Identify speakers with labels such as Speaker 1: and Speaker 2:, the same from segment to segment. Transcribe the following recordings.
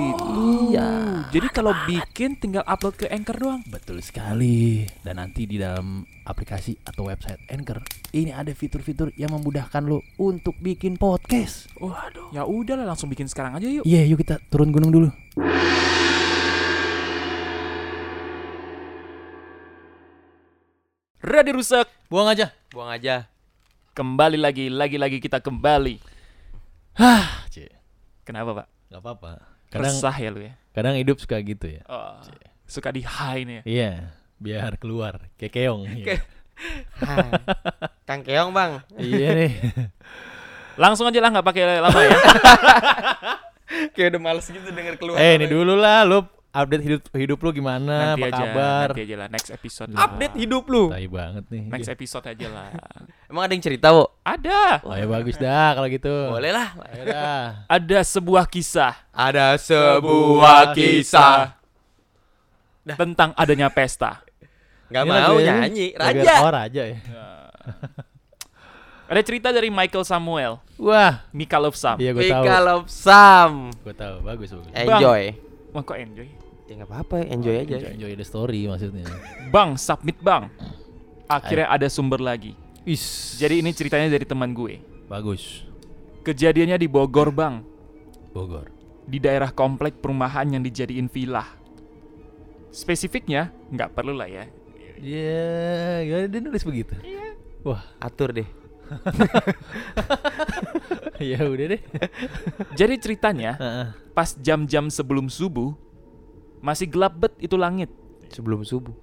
Speaker 1: gitu.
Speaker 2: Iya.
Speaker 1: Jadi kalau bikin tinggal upload ke Anchor doang.
Speaker 2: Betul sekali. Dan nanti di dalam aplikasi atau website Anchor, ini ada fitur-fitur yang memudahkan lo untuk bikin podcast.
Speaker 1: Waduh. Ya udahlah langsung bikin sekarang aja yuk.
Speaker 2: Iya, yuk kita turun gunung dulu.
Speaker 3: Ready rusak,
Speaker 2: Buang aja.
Speaker 4: Buang aja.
Speaker 3: kembali lagi, lagi-lagi kita kembali.
Speaker 5: Cie,
Speaker 3: Kenapa pak?
Speaker 5: nggak apa-apa. Kadang
Speaker 3: Resah ya lu ya?
Speaker 5: kadang hidup suka gitu ya.
Speaker 3: Oh, suka di high nih ya?
Speaker 5: Iya, biar keluar kekeong. Iya,
Speaker 4: Kang Keong, Bang.
Speaker 5: iya nih.
Speaker 3: Langsung aja lah nggak pakai lama ya.
Speaker 4: Kayak udah males gitu denger keluar.
Speaker 5: eh, ini dulu lah lu update hidup hidup lu gimana, apa
Speaker 3: nanti aja,
Speaker 5: kabar?
Speaker 3: nanti aja lah next episode. lah.
Speaker 4: Update hidup lu.
Speaker 5: Tai banget nih. Iya.
Speaker 3: Next episode aja lah.
Speaker 4: Emang ada yang cerita, Wo?
Speaker 3: Ada,
Speaker 5: Oh, ya bagus dah kalau gitu.
Speaker 4: Boleh lah.
Speaker 5: Ayo dah.
Speaker 3: ada sebuah kisah
Speaker 4: Ada
Speaker 5: sebuah kisah.
Speaker 3: tentang adanya pesta.
Speaker 4: Gak
Speaker 5: Ini
Speaker 4: mau
Speaker 5: lagu- ya?
Speaker 4: nyanyi,
Speaker 5: lagu-
Speaker 4: raja.
Speaker 5: Oh, raja ya.
Speaker 3: Ada cerita dari Michael Samuel,
Speaker 5: Wah,
Speaker 3: Mika Love Sam.
Speaker 5: iya gua tahu.
Speaker 4: Pika Love Sam.
Speaker 5: Gua tahu, bagus bagus.
Speaker 4: Eh, Enjoy.
Speaker 3: Wah kok enjoy?
Speaker 4: Ya nggak apa-apa, enjoy aja.
Speaker 5: Oh, Enjoy the story maksudnya.
Speaker 3: Bang, submit bang. Akhirnya ada sumber lagi.
Speaker 5: Is.
Speaker 3: Jadi ini ceritanya dari teman gue.
Speaker 5: bagus.
Speaker 3: Kejadiannya di Bogor bang,
Speaker 5: Bogor.
Speaker 3: di daerah komplek perumahan yang dijadiin villa. Spesifiknya, nggak perlu lah ya.
Speaker 5: Iya, gimana dia nulis begitu? Wah,
Speaker 4: Atur deh.
Speaker 5: ya udah deh.
Speaker 3: Jadi ceritanya,
Speaker 5: Heeh.
Speaker 3: pas jam-jam sebelum subuh, masih gelap bet itu langit.
Speaker 4: Sebelum subuh.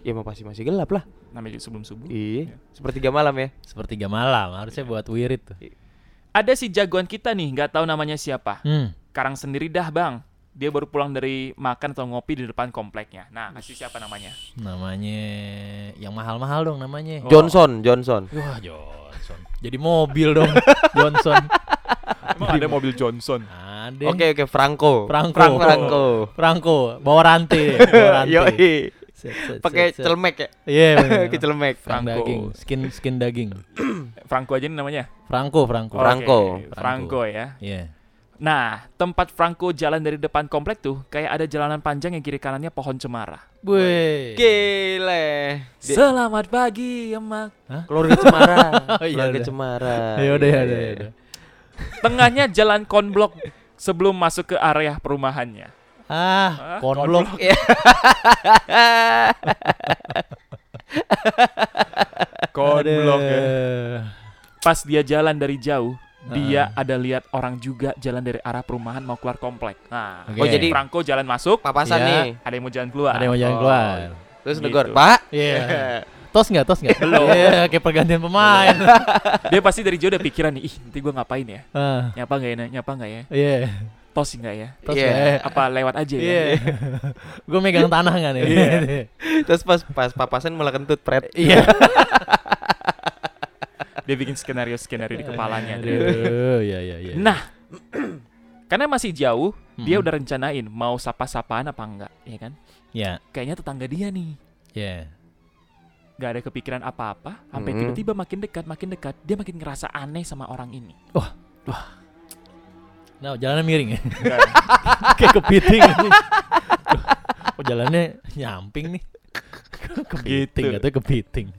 Speaker 4: Ya emang pasti masih gelap lah.
Speaker 3: Namanya juga sebelum subuh.
Speaker 4: Iya. Sepertiga malam ya.
Speaker 5: Sepertiga malam harusnya buat wirid tuh.
Speaker 3: Ada si jagoan kita nih, nggak tahu namanya siapa.
Speaker 5: Hmm.
Speaker 3: Karang sendiri dah bang. Dia baru pulang dari makan atau ngopi di depan kompleknya. Nah, kasih siapa namanya?
Speaker 5: Namanya yang mahal-mahal dong namanya.
Speaker 3: Oh.
Speaker 4: Johnson, Johnson.
Speaker 5: Wah, Johnson. Jadi mobil dong, Johnson.
Speaker 3: Emang ada mobil Johnson.
Speaker 5: Ada.
Speaker 4: Oke oke Franco.
Speaker 5: Franco.
Speaker 4: Franco.
Speaker 5: Franco. Franco, bawa rantai, bawa rantai.
Speaker 4: Yoi.
Speaker 5: Set, set, set,
Speaker 4: Pakai
Speaker 5: set.
Speaker 4: celemek ya.
Speaker 5: Iya, bener.
Speaker 4: Pakai celemek.
Speaker 5: Frank
Speaker 3: Franco.
Speaker 5: daging, skin skin daging.
Speaker 3: Franco aja nih namanya.
Speaker 5: Franco, Franco.
Speaker 3: Oke,
Speaker 4: Franco.
Speaker 3: Franco ya.
Speaker 5: Iya.
Speaker 3: Nah, tempat Franco jalan dari depan komplek tuh kayak ada jalanan panjang yang kiri kanannya pohon cemara.
Speaker 5: Wih.
Speaker 4: Gile. Di-
Speaker 3: Selamat pagi, emak.
Speaker 4: Keluarga Cemara.
Speaker 5: Oh, iya
Speaker 4: Keluarga
Speaker 5: udah.
Speaker 4: Cemara.
Speaker 5: Ya udah, ya udah,
Speaker 4: iya.
Speaker 5: ya udah.
Speaker 3: Tengahnya jalan konblok sebelum masuk ke area perumahannya.
Speaker 5: Ah, konblok. ya.
Speaker 3: ya.
Speaker 5: Aduh.
Speaker 3: Pas dia jalan dari jauh, dia ada lihat orang juga jalan dari arah perumahan mau keluar komplek. Nah,
Speaker 5: Oke.
Speaker 4: Oh, jadi
Speaker 3: Franco jalan masuk,
Speaker 4: papasan
Speaker 5: Iya.
Speaker 4: nih.
Speaker 3: ada yang mau jalan keluar.
Speaker 5: Ada yang mau jalan
Speaker 4: Oh.
Speaker 5: keluar.
Speaker 4: Terus
Speaker 3: Gitu.
Speaker 4: negor, "Pak."
Speaker 5: Iya. Tos nggak, tos nggak?
Speaker 3: Belum.
Speaker 5: Iya, kayak pergantian pemain.
Speaker 3: Dia pasti dari jauh udah pikiran nih, ih nanti gue ngapain ya?
Speaker 5: Ah,
Speaker 3: Nyapa nggak ya? Nyapa nggak ya?
Speaker 5: Iya.
Speaker 3: Tos nggak ya?
Speaker 5: Tos
Speaker 4: Iya.
Speaker 5: nggak?
Speaker 3: Apa lewat aja ya?
Speaker 5: Iya. Gue megang tanah nggak nih?
Speaker 3: Iya.
Speaker 4: Terus pas pas papasan malah kentut pret.
Speaker 5: Iya.
Speaker 3: Dia bikin skenario-skenario di
Speaker 5: Iya.
Speaker 3: kepalanya.
Speaker 5: Aduh, Iya, iya, iya.
Speaker 3: Nah, karena masih jauh, dia
Speaker 5: Mm-mm.
Speaker 3: udah rencanain mau sapa-sapaan apa enggak, ya kan?
Speaker 5: Iya.
Speaker 3: Kayaknya tetangga dia nih.
Speaker 5: Iya.
Speaker 3: Gak ada kepikiran apa-apa, sampai
Speaker 4: Mm-mm.
Speaker 3: tiba-tiba makin dekat, makin dekat, dia makin ngerasa aneh sama orang ini.
Speaker 5: Nah, jalannya miring ya. Kayak kepiting. ini. Oh, jalannya nyamping nih. kepiting
Speaker 3: Gitu.
Speaker 5: atau kepiting.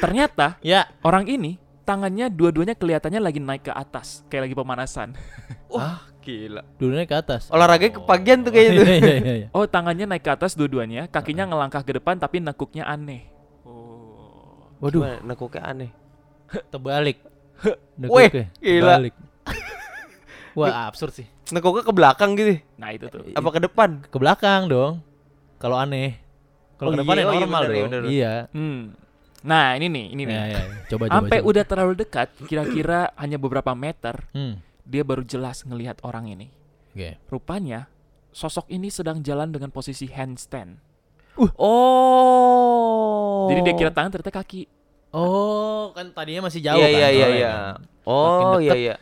Speaker 3: Ternyata
Speaker 5: Ya.
Speaker 3: orang ini tangannya dua-duanya kelihatannya lagi naik ke atas, kayak lagi pemanasan.
Speaker 4: Gila.
Speaker 5: Dulunya ke atas.
Speaker 4: Olahraganya kepagian tuh kayaknya tuh.
Speaker 5: Iya, iya, iya, iya.
Speaker 3: Oh, tangannya naik ke atas dua-duanya, kakinya ngelangkah ke depan tapi nekuknya aneh. Oh.
Speaker 5: Waduh,
Speaker 4: Gimana? nekuknya aneh.
Speaker 5: terbalik.
Speaker 4: Weh,
Speaker 5: Nekuknya
Speaker 4: gila.
Speaker 5: terbalik. Wah, absurd sih.
Speaker 4: Nekuknya ke belakang gitu.
Speaker 3: Nah, itu tuh.
Speaker 4: Apa ke depan?
Speaker 5: Ke belakang dong. Kalau aneh. Kalau
Speaker 4: Oh
Speaker 5: ke depan
Speaker 4: iya,
Speaker 5: ya
Speaker 4: oh iya,
Speaker 5: normal
Speaker 4: bener, iya,
Speaker 5: dong.
Speaker 4: bener.
Speaker 5: Iya.
Speaker 3: Hmm. Nah, ini nih, ini nih.
Speaker 5: Iya, iya. Ya, Coba coba.
Speaker 3: Sampai
Speaker 5: coba.
Speaker 3: udah terlalu dekat, kira-kira hanya beberapa meter,
Speaker 5: Hmm.
Speaker 3: Dia baru jelas ngelihat orang ini.
Speaker 5: Oke.
Speaker 3: Rupanya sosok ini sedang jalan dengan posisi handstand.
Speaker 4: Oh.
Speaker 3: Jadi dia kira tangan ternyata kaki.
Speaker 5: Oh, kan tadinya masih jauh
Speaker 4: Iya
Speaker 5: kan.
Speaker 4: iya iya
Speaker 5: soalnya
Speaker 4: iya.
Speaker 5: kan.
Speaker 4: Oh iya
Speaker 5: deket.
Speaker 4: iya.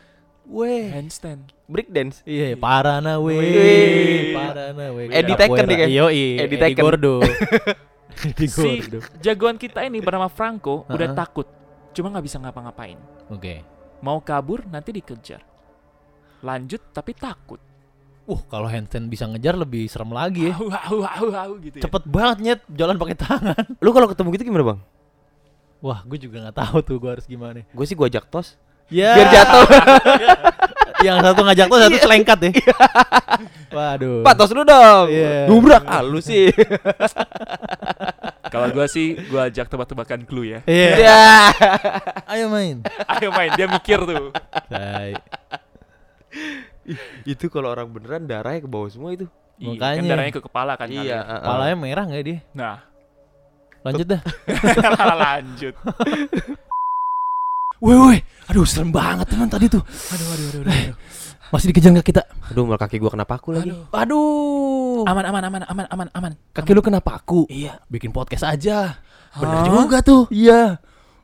Speaker 4: Weh,
Speaker 3: Handstand.
Speaker 4: break dance.
Speaker 5: Iya, Parana we.
Speaker 4: Wih.
Speaker 5: Parana we.
Speaker 4: Eddie Tekken dia kan?
Speaker 5: Iya, iya.
Speaker 4: Eddie
Speaker 5: Eddie
Speaker 4: Tekken.
Speaker 5: Gordo. Eddie
Speaker 3: Si
Speaker 5: Gordo.
Speaker 3: jagoan kita ini bernama Franco udah
Speaker 5: Ha-ha.
Speaker 3: takut. Cuma nggak bisa ngapa-ngapain.
Speaker 5: Oke.
Speaker 3: Mau kabur nanti dikejar. Lanjut tapi takut.
Speaker 5: Wah, Uh, kalau handstand bisa ngejar lebih serem lagi ya.
Speaker 3: Au, au, au, au,
Speaker 4: Iya.
Speaker 3: gitu ya.
Speaker 5: Cepet banget nyet jalan pakai tangan.
Speaker 4: Lu kalau ketemu gitu gimana, Bang?
Speaker 5: Wah, gue juga nggak tahu tuh gue harus gimana.
Speaker 4: Gue sih gua ajak tos.
Speaker 5: Ya.
Speaker 4: Biar jatuh.
Speaker 5: Yang satu ngajak tuh
Speaker 2: Iya.
Speaker 5: satu selengkat ya. Waduh.
Speaker 4: Iya, Pak, tos lu dong.
Speaker 5: Iya.
Speaker 4: Dubrak ah lu sih.
Speaker 3: Kalau gua sih gua ajak tebak-tebakan clue ya.
Speaker 5: Iya.
Speaker 4: Ya.
Speaker 5: Ayo main.
Speaker 3: Ayo main, dia mikir tuh.
Speaker 5: Tai.
Speaker 4: Itu kalau orang beneran darahnya ke bawah semua itu.
Speaker 3: Iya,
Speaker 5: Makanya.
Speaker 3: kan darahnya ke kepala kan kali ya.
Speaker 4: Iya, heeh.
Speaker 5: Palanya merah nggak dia?
Speaker 3: Nah,
Speaker 5: Lanjut dah.
Speaker 3: lanjut.
Speaker 2: Woi woi, aduh serem banget teman tadi tuh.
Speaker 3: Aduh, aduh, aduh, aduh.
Speaker 2: Masih dikejar nggak kita?
Speaker 4: Aduh, malah kaki gua kenapa aku lagi?
Speaker 2: Aduh.
Speaker 3: Aman, aman, aman, aman, aman, aman.
Speaker 2: Kaki lu kenapa aku? Iya. Bikin podcast aja. Bener juga tuh. Iya.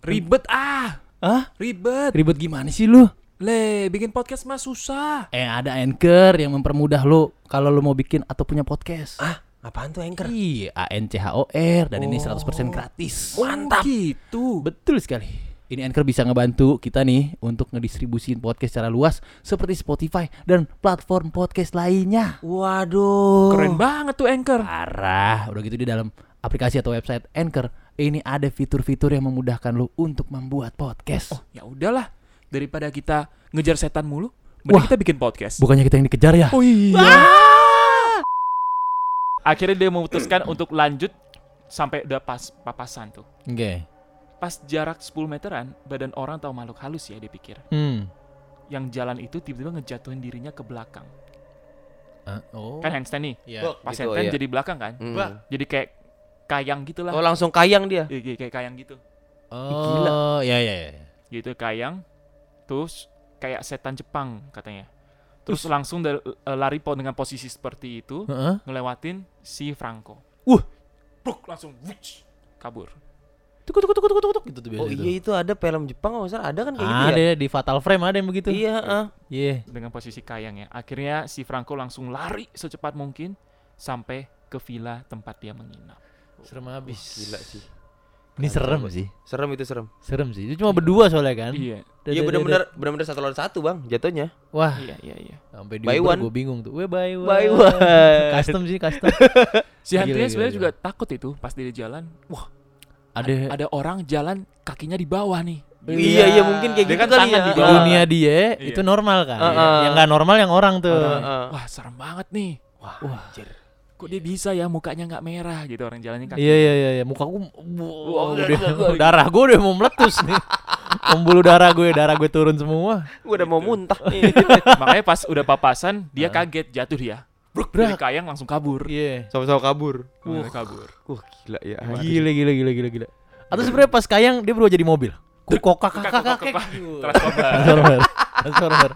Speaker 1: Ribet ah,
Speaker 2: Hah?
Speaker 1: ribet.
Speaker 2: Ribet gimana sih lu?
Speaker 1: Le, bikin podcast mah susah.
Speaker 2: Eh ada anchor yang mempermudah lu kalau lu mau bikin atau punya podcast.
Speaker 4: Ah, apaan tuh anchor?
Speaker 2: Iya, A N C H O R dan
Speaker 5: Oh.
Speaker 2: ini 100% gratis.
Speaker 1: Mantap. Gitu.
Speaker 2: Betul sekali. Ini Anchor bisa ngebantu kita nih untuk ngedistribusin podcast secara luas seperti Spotify dan platform podcast lainnya.
Speaker 4: Waduh.
Speaker 3: Keren banget tuh anchor.
Speaker 2: Parah, udah gitu di dalam aplikasi atau website Anchor ini ada fitur-fitur yang memudahkan lo untuk membuat
Speaker 5: Oh.
Speaker 2: podcast.
Speaker 3: Ya udahlah, daripada kita ngejar setan mulu, mending
Speaker 2: Wah.
Speaker 3: kita bikin podcast.
Speaker 2: Bukannya kita yang dikejar ya?
Speaker 3: Oh iya. Akhirnya dia memutuskan untuk lanjut sampai udah pas papasan tuh.
Speaker 5: Oke.
Speaker 3: Pas jarak 10 meteran, badan orang tahu makhluk halus ya dia pikir.
Speaker 5: Hmm.
Speaker 3: Yang jalan itu tiba-tiba ngejatuhin dirinya ke belakang.
Speaker 5: Ah, oh.
Speaker 3: Kan handstand nih.
Speaker 5: Iya.
Speaker 3: Pas
Speaker 4: Gitu,
Speaker 3: handstand
Speaker 4: iya.
Speaker 3: jadi belakang kan.
Speaker 4: Mm.
Speaker 5: Wah.
Speaker 3: Jadi kayak kayang gitu
Speaker 4: Oh,
Speaker 3: lah.
Speaker 4: langsung kayang dia.
Speaker 3: Iya, iya, kayak kayang gitu.
Speaker 5: Oh, ya ya ya.
Speaker 3: Gitu kayang. Terus kayak setan Jepang katanya. Terus langsung dari- eh, lari po- dengan posisi seperti itu
Speaker 5: Heeh.
Speaker 3: ngelewatin si Franco.
Speaker 5: Wuh.
Speaker 3: Bruk, langsung wuch, kabur.
Speaker 5: Tuk tuk tuk tuk tuk tuk gitu tuh biasa
Speaker 4: Oh
Speaker 5: tuh.
Speaker 4: iya itu ada film Jepang nggak salah ada kan kayak gitu
Speaker 5: Ada
Speaker 4: ya?
Speaker 5: di Fatal Frame ada yang begitu.
Speaker 4: Iya, heeh.
Speaker 5: Iya.
Speaker 3: dengan posisi kayang ya. Akhirnya si Franco langsung lari secepat mungkin sampai ke villa tempat dia menginap.
Speaker 5: Serem abis.
Speaker 4: Gila sih.
Speaker 5: Ini serem sih.
Speaker 4: Serem itu serem.
Speaker 5: Serem sih. Itu cuma berdua soalnya kan.
Speaker 3: Iya,
Speaker 5: Dada-
Speaker 4: Iya
Speaker 5: dada-
Speaker 4: benar-benar benar-benar satu lawan satu, Bang, jatuhnya.
Speaker 5: Wah,
Speaker 3: iya, iya, iya.
Speaker 5: sampai di
Speaker 4: Buy
Speaker 5: Uber
Speaker 4: one.
Speaker 5: gue bingung tuh. Weh, buy one.
Speaker 4: Buy one.
Speaker 5: Custom sih, custom.
Speaker 3: Si
Speaker 5: Gila,
Speaker 3: Hantrinya
Speaker 5: gila,
Speaker 3: sebenarnya
Speaker 5: gila.
Speaker 3: juga takut itu pas dia jalan. Wah,
Speaker 5: ada
Speaker 3: ada orang jalan kakinya di bawah nih.
Speaker 4: Iya, iya mungkin kayak
Speaker 3: Dia
Speaker 4: gitu
Speaker 3: kan
Speaker 4: kali
Speaker 3: tangan
Speaker 4: ya. Ah,
Speaker 3: di
Speaker 5: di
Speaker 3: bawah.
Speaker 4: Heeh.
Speaker 5: dunia dia
Speaker 3: Iya.
Speaker 5: itu normal kan.
Speaker 4: Heeh.
Speaker 5: Yang nggak normal yang orang tuh.
Speaker 4: Heeh.
Speaker 3: Wah, serem banget nih.
Speaker 4: Wah, anjir.
Speaker 3: Kok dia bisa ya mukanya nggak merah gitu orang jalannya kaki.
Speaker 5: Iya iya iya, iya, muka gue
Speaker 3: Wah,
Speaker 5: udah, darah gue udah mau meletus nih. Pembuluh darah gue, darah gue turun semua.
Speaker 4: Ah. Gua udah mau muntah.
Speaker 3: Makanya pas udah papasan dia kaget jatuh dia. Bruk, dari kayang langsung kabur.
Speaker 5: Iya.
Speaker 4: Sama-sama kabur.
Speaker 3: Langsung kabur.
Speaker 4: Wah, gila ya.
Speaker 5: Gila gila gila gila gila. Atau sebenarnya pas kayang dia berubah jadi mobil. Kukok kakak kakak kakak.
Speaker 3: Transformer.
Speaker 5: Transformer. Transformer.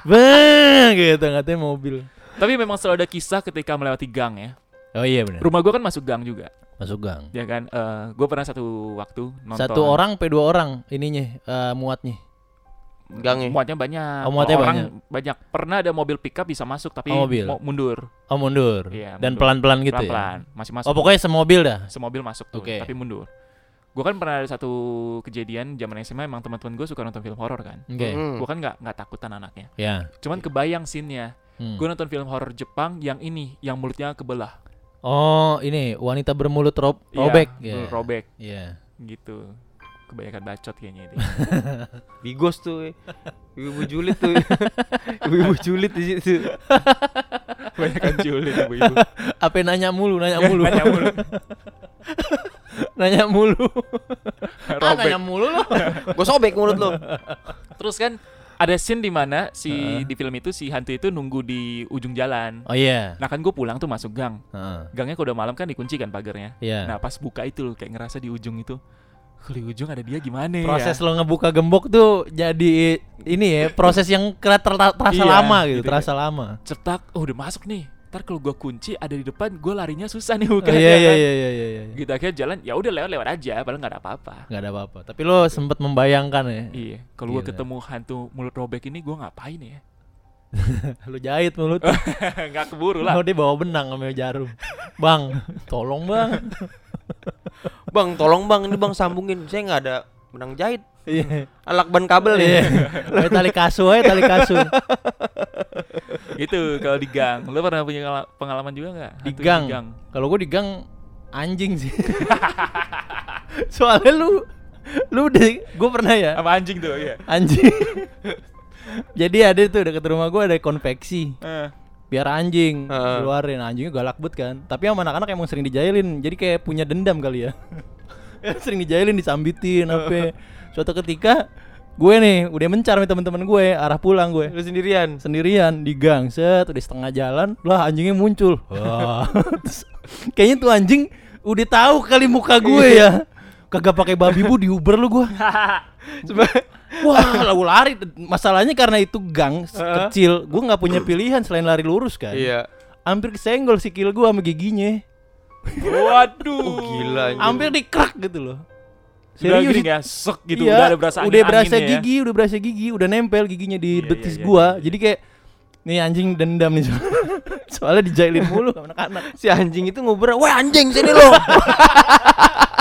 Speaker 5: Bang gitu katanya mobil.
Speaker 3: Tapi memang selalu ada kisah ketika melewati gang ya.
Speaker 5: Oh iya benar.
Speaker 3: Rumah gua kan masuk gang juga.
Speaker 5: Masuk gang.
Speaker 3: Ya kan, Eh gue pernah satu waktu nonton
Speaker 5: Satu orang P2 orang ininya eh, muatnya.
Speaker 4: Gangnya.
Speaker 3: muatnya banyak,
Speaker 5: Oh, muatnya
Speaker 3: Kalau orang banyak. Pernah ada mobil pickup bisa masuk tapi
Speaker 5: Oh, mobil.
Speaker 3: mau mundur
Speaker 5: Oh mundur.
Speaker 3: Iya,
Speaker 5: Dan
Speaker 3: mundur.
Speaker 5: pelan-pelan gitu ya.
Speaker 3: pelan-pelan, masih masuk.
Speaker 5: Oh pokoknya semobil dah.
Speaker 3: semobil masuk tuh,
Speaker 5: Oke.
Speaker 3: tapi mundur. Gue kan pernah ada satu kejadian zaman SMA emang teman-teman gue suka nonton film horor kan.
Speaker 5: Oke.
Speaker 4: Mm.
Speaker 3: Gue kan nggak nggak takutan anaknya.
Speaker 5: Ya.
Speaker 3: Cuman kebayang scene-nya.
Speaker 5: Hmm.
Speaker 3: Gue nonton film horor Jepang yang ini, yang mulutnya kebelah.
Speaker 5: Oh ini wanita bermulut rob
Speaker 3: Iya,
Speaker 5: robek. Iya.
Speaker 3: mulut robek
Speaker 5: Iya.
Speaker 3: gitu. Kebanyakan bacot kayaknya itu.
Speaker 4: Bigos tuh. eh. Ibu-ibu julid tuh. Ibu-ibu julid di situ.
Speaker 3: Kebanyakan julid ibu-ibu.
Speaker 5: Apa yang nanya mulu, nanya mulu,
Speaker 3: Iya, Nanya mulu.
Speaker 5: nanya mulu. Ah,
Speaker 3: Robek.
Speaker 5: nanya mulu lo.
Speaker 4: Gua sobek mulut lu.
Speaker 3: Terus kan ada scene di mana si di film itu si hantu itu nunggu di ujung jalan.
Speaker 5: Oh iya.
Speaker 3: Nah kan gue pulang tuh masuk gang.
Speaker 5: Heeh.
Speaker 3: Gangnya kalau udah malam kan dikunci kan pagarnya.
Speaker 5: Iya.
Speaker 3: Nah pas buka itu loh kayak ngerasa di ujung itu Kalau di ujung ada dia gimana ya?
Speaker 5: proses lo ngebuka gembok tuh jadi ini ya proses yang kera- ter- terasa
Speaker 3: Iya,
Speaker 5: lama gitu,
Speaker 3: gitu
Speaker 5: terasa lama
Speaker 3: cetak oh udah masuk nih ntar kalau gua kunci ada di depan gua larinya susah nih bukan
Speaker 5: Oh, iya iya
Speaker 3: ya kan?
Speaker 5: iya iya iya iya.
Speaker 3: gitu akhirnya jalan ya udah lewat lewat aja padahal nggak ada apa-apa
Speaker 5: nggak ada apa-apa tapi lo sempet membayangkan ya
Speaker 3: iya kalau
Speaker 5: Iya.
Speaker 3: gua
Speaker 5: Gila.
Speaker 3: ketemu hantu mulut robek ini gua ngapain ya
Speaker 5: lo jahit mulut
Speaker 3: nggak keburu
Speaker 5: lo
Speaker 3: lah
Speaker 5: dia bawa benang sama jarum bang tolong bang
Speaker 4: Bang, tolong bang, ini bang sambungin. Saya nggak ada benang jahit.
Speaker 5: iya
Speaker 4: Alak ban kabel
Speaker 5: Iya.
Speaker 4: ya.
Speaker 5: Kayak tali kasu aja tali kasu
Speaker 3: gitu kalau di gang lo pernah punya ngala- pengalaman juga nggak
Speaker 5: Di
Speaker 3: Hantu
Speaker 5: gang. Kalau gue di gang anjing sih. Soalnya lu lu udah gue pernah ya
Speaker 3: sama anjing tuh iya
Speaker 5: anjing. Jadi ada tuh dekat rumah gue ada konveksi
Speaker 3: Eh,
Speaker 5: biar anjing
Speaker 4: Heeh.
Speaker 5: keluarin anjingnya galak banget kan. Tapi sama anak-anak emang sering dijailin. Jadi kayak punya dendam kali ya. Ya, sering dijailin disambitin apa. Suatu ketika gue nih udah mencar nih teman-teman gue arah pulang gue
Speaker 4: Lu sendirian.
Speaker 5: sendirian di gang set di setengah jalan lah anjingnya muncul Wah. Terus, kayaknya tuh anjing udah tahu kali muka gue ya kagak pakai babi bu di Uber lu gue wah lalu lari masalahnya karena itu gang s-
Speaker 4: Heeh.
Speaker 5: kecil gue nggak punya pilihan selain lari lurus kan
Speaker 4: Iya.
Speaker 5: hampir kesenggol sikil gue sama giginya
Speaker 3: waduh
Speaker 4: Oh, gila. anjing.
Speaker 5: hampir dikrak gitu loh
Speaker 3: Iya. udah
Speaker 5: Serius.
Speaker 3: gini ya sok gitu
Speaker 5: Iya,
Speaker 3: udah ada berasa angin
Speaker 5: udah berasa
Speaker 3: anginnya ya.
Speaker 5: gigi udah berasa gigi udah nempel giginya di
Speaker 3: Iya,
Speaker 5: betis
Speaker 3: iya, iya,
Speaker 5: gua
Speaker 3: iya, iya.
Speaker 5: jadi kayak nih anjing dendam nih soalnya dijailin mulu sama anak-anak
Speaker 4: Si anjing itu ngobrol, wah anjing sini lo.